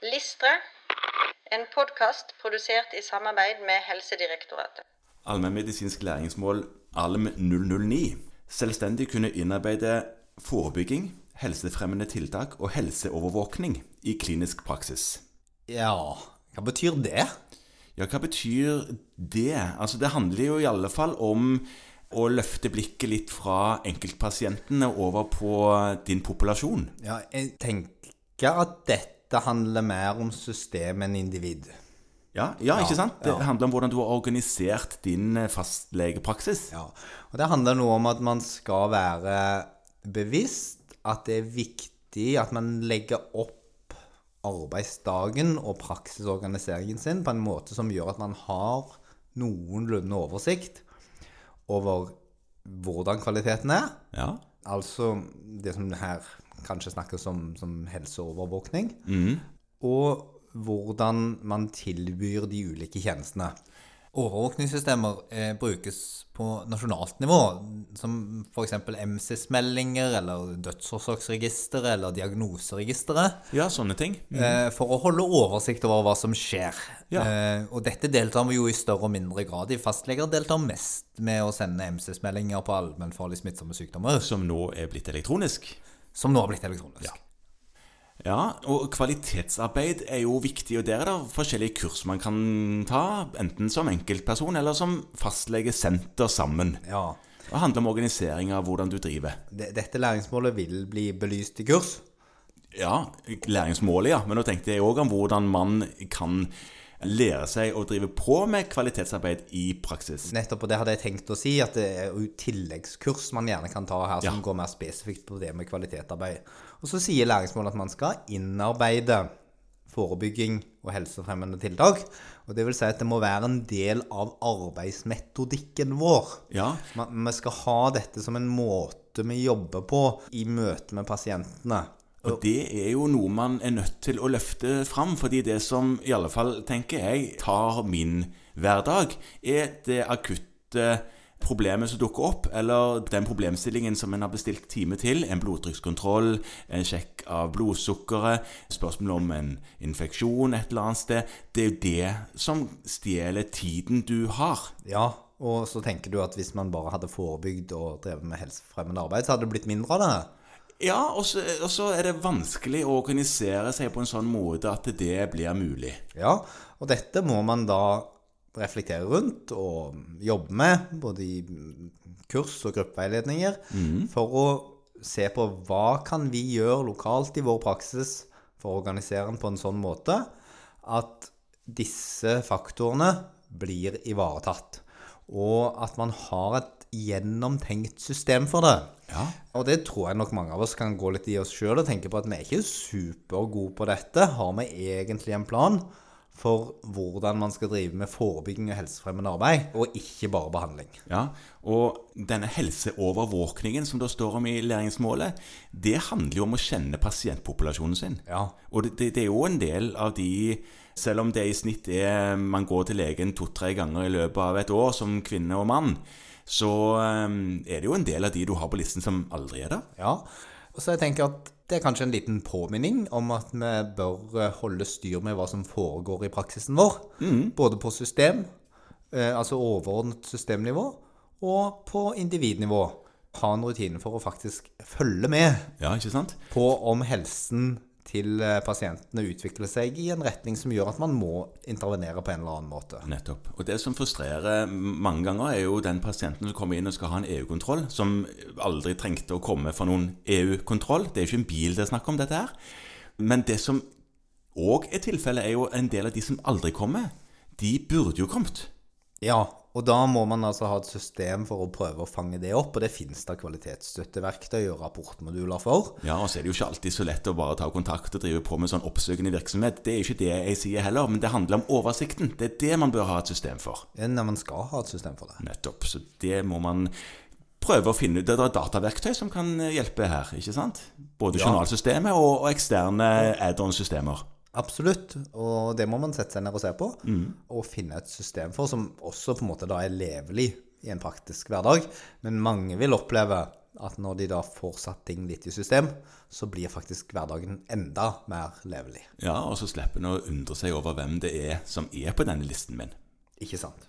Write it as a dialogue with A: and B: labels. A: Listre, en podkast produsert i samarbeid med Helsedirektoratet.
B: Allmennmedisinsk læringsmål ALM 009. Selvstendig kunne innarbeide forebygging, helsefremmende tiltak og helseovervåkning i klinisk praksis.
C: Ja, hva betyr det?
B: Ja, hva betyr det? Altså, det handler jo i alle fall om å løfte blikket litt fra enkeltpasientene over på din populasjon.
C: Ja, jeg tenker at dette handler mer om system enn individ.
B: Ja, ja, ikke
C: Ja,
B: sant? Det
C: ja.
B: handler om hvordan du har organisert din fastlegepraksis.
C: Ja, og det handler noe om at man skal være bevisst at det er viktig at man legger opp arbeidsdagen og praksisorganiseringen sin på en måte som gjør at man har noenlunde oversikt over hvordan kvaliteten er,
B: Ja.
C: altså det som her kanskje snakkes om som helseovervåkning, og hvordan man tilbyr de ulike tjenestene.
D: Overvåkningssystemer eh, brukes på nasjonalt nivå, som f.eks. MSIS-meldinger eller dødsårsaksregisteret eller diagnoseregisteret,
B: ja, sånne ting.
D: eh, for å holde oversikt over hva som skjer.
B: Ja.
D: Eh, og dette deltar vi jo i større og mindre grad i. Fastleger deltar mest med å sende MSIS-meldinger på allmennfarlig smittsomme sykdommer,
B: Som nå er blitt elektronisk.
D: som nå har blitt elektronisk.
B: Ja, og kvalitetsarbeid er jo viktig, og der er det forskjellige kurs man kan ta, enten som enkeltperson eller som fastlegesenter sammen.
C: Ja,
B: Det handler om organisering av hvordan du driver.
C: det- dette læringsmålet vil bli belyst i kurs.
B: Ja, læringsmålet, ja, men nå tenkte jeg òg om hvordan man kan lære seg å drive på med kvalitetsarbeid i praksis.
C: Nettopp, og det hadde jeg tenkt å si, at det er jo tilleggskurs man gjerne kan ta her, som
B: Ja.
C: går mer spesifikt på det med kvalitettarbeid. Og så sier læringsmålet at man skal innarbeide forebygging og helsefremmende tiltak. Og det vil si at det må være en del av arbeidsmetodikken vår.
B: Ja,
C: Man, vi skal ha dette som en måte vi jobber på i møte med pasientene.
B: Og det er jo noe man er nødt til å løfte fram, fordi det som i alle fall, tenker jeg, tar min hverdag, er det akutte problemet som dukker opp, eller den problemstillingen som en har bestilt time til, en blodtrykkskontroll, en sjekk av blodsukkeret, spørsmål om en infeksjon et eller annet sted, det er jo det som stjeler tiden du har.
C: Ja, og så tenker du at hvis man bare hadde forebygd og drevet med helsefremmende arbeid, så hadde det blitt mindre av det.
B: Ja, og så og så er det vanskelig å organisere seg på en sånn måte at det blir mulig.
C: Ja, og dette må man da reflektere rundt og jobbe med, både i kurs og gruppeveiledninger, for å se på hva kan vi gjøre lokalt i vår praksis for å organisere den på en sånn måte at disse faktorene blir ivaretatt, og at man har et gjennomtenkt system for det.
B: Ja.
C: Og det tror jeg nok mange av oss kan gå litt i oss sjøl og tenke på at vi er ikke supergode på dette. Har vi egentlig en plan for hvordan man skal drive med forebygging og helsefremmende arbeid, og ikke bare behandling?
B: Ja, og denne helseovervåkningen som det står om i læringsmålet, det handler jo om å kjenne pasientpopulasjonen sin.
C: Ja.
B: Og det, det, det er jo en del av de Selv om det i snitt er man går til legen to-tre ganger i løpet av et år som kvinne og mann, så eh, er det jo en del av de du har på listen som aldri er der.
C: Ja. Og så jeg tenker at det er kanskje en liten påminning om at vi bør eh, holde styr med hva som foregår i praksisen vår. Både på system, eh, altså overordnet systemnivå, og på individnivå. Ha en rutine for å faktisk følge med
B: Ja, ikke sant?
C: på om helsen til eh, pasientene utvikler seg i en retning som gjør at man må intervenere på en eller annen måte.
B: Nettopp. Og det som frustrerer mange ganger, er jo den pasienten som kommer inn og skal ha en EU-kontroll, som aldri trengte å komme for noen EU-kontroll. Det er jo ikke en bil det er snakk om, dette her. Men det som òg er tilfellet, er jo en del av de som aldri kommer. De burde jo kommet.
C: Ja, og da må man altså ha et system for å prøve å fange det opp, og det finnes da kvalitetsstøtteverktøy og rapportmoduler for.
B: Ja, og så er det jo ikke alltid så lett å bare ta kontakt og drive på med sånn oppsøkende virksomhet. Det er ikke det jeg sier heller, men det handler om oversikten. Det er det man bør ha et system for.
C: Nei, eh, man skal ha et system for det.
B: Nettopp. Så det må man prøve å finne ut. Det er dataverktøy som kan eh, hjelpe her, ikke sant? Både journalsystemet og, og eksterne add-on-systemer.
C: Absolutt, og det må man sette seg ned og se på, og finne et system for, som også på en måte da er levelig i en praktisk hverdag. Men mange vil oppleve at når de da får satt ting litt i system, så blir faktisk hverdagen enda mer levelig.
B: Ja, og så slipper en å undre seg over hvem det er som er på denne listen min.
C: Ikke sant?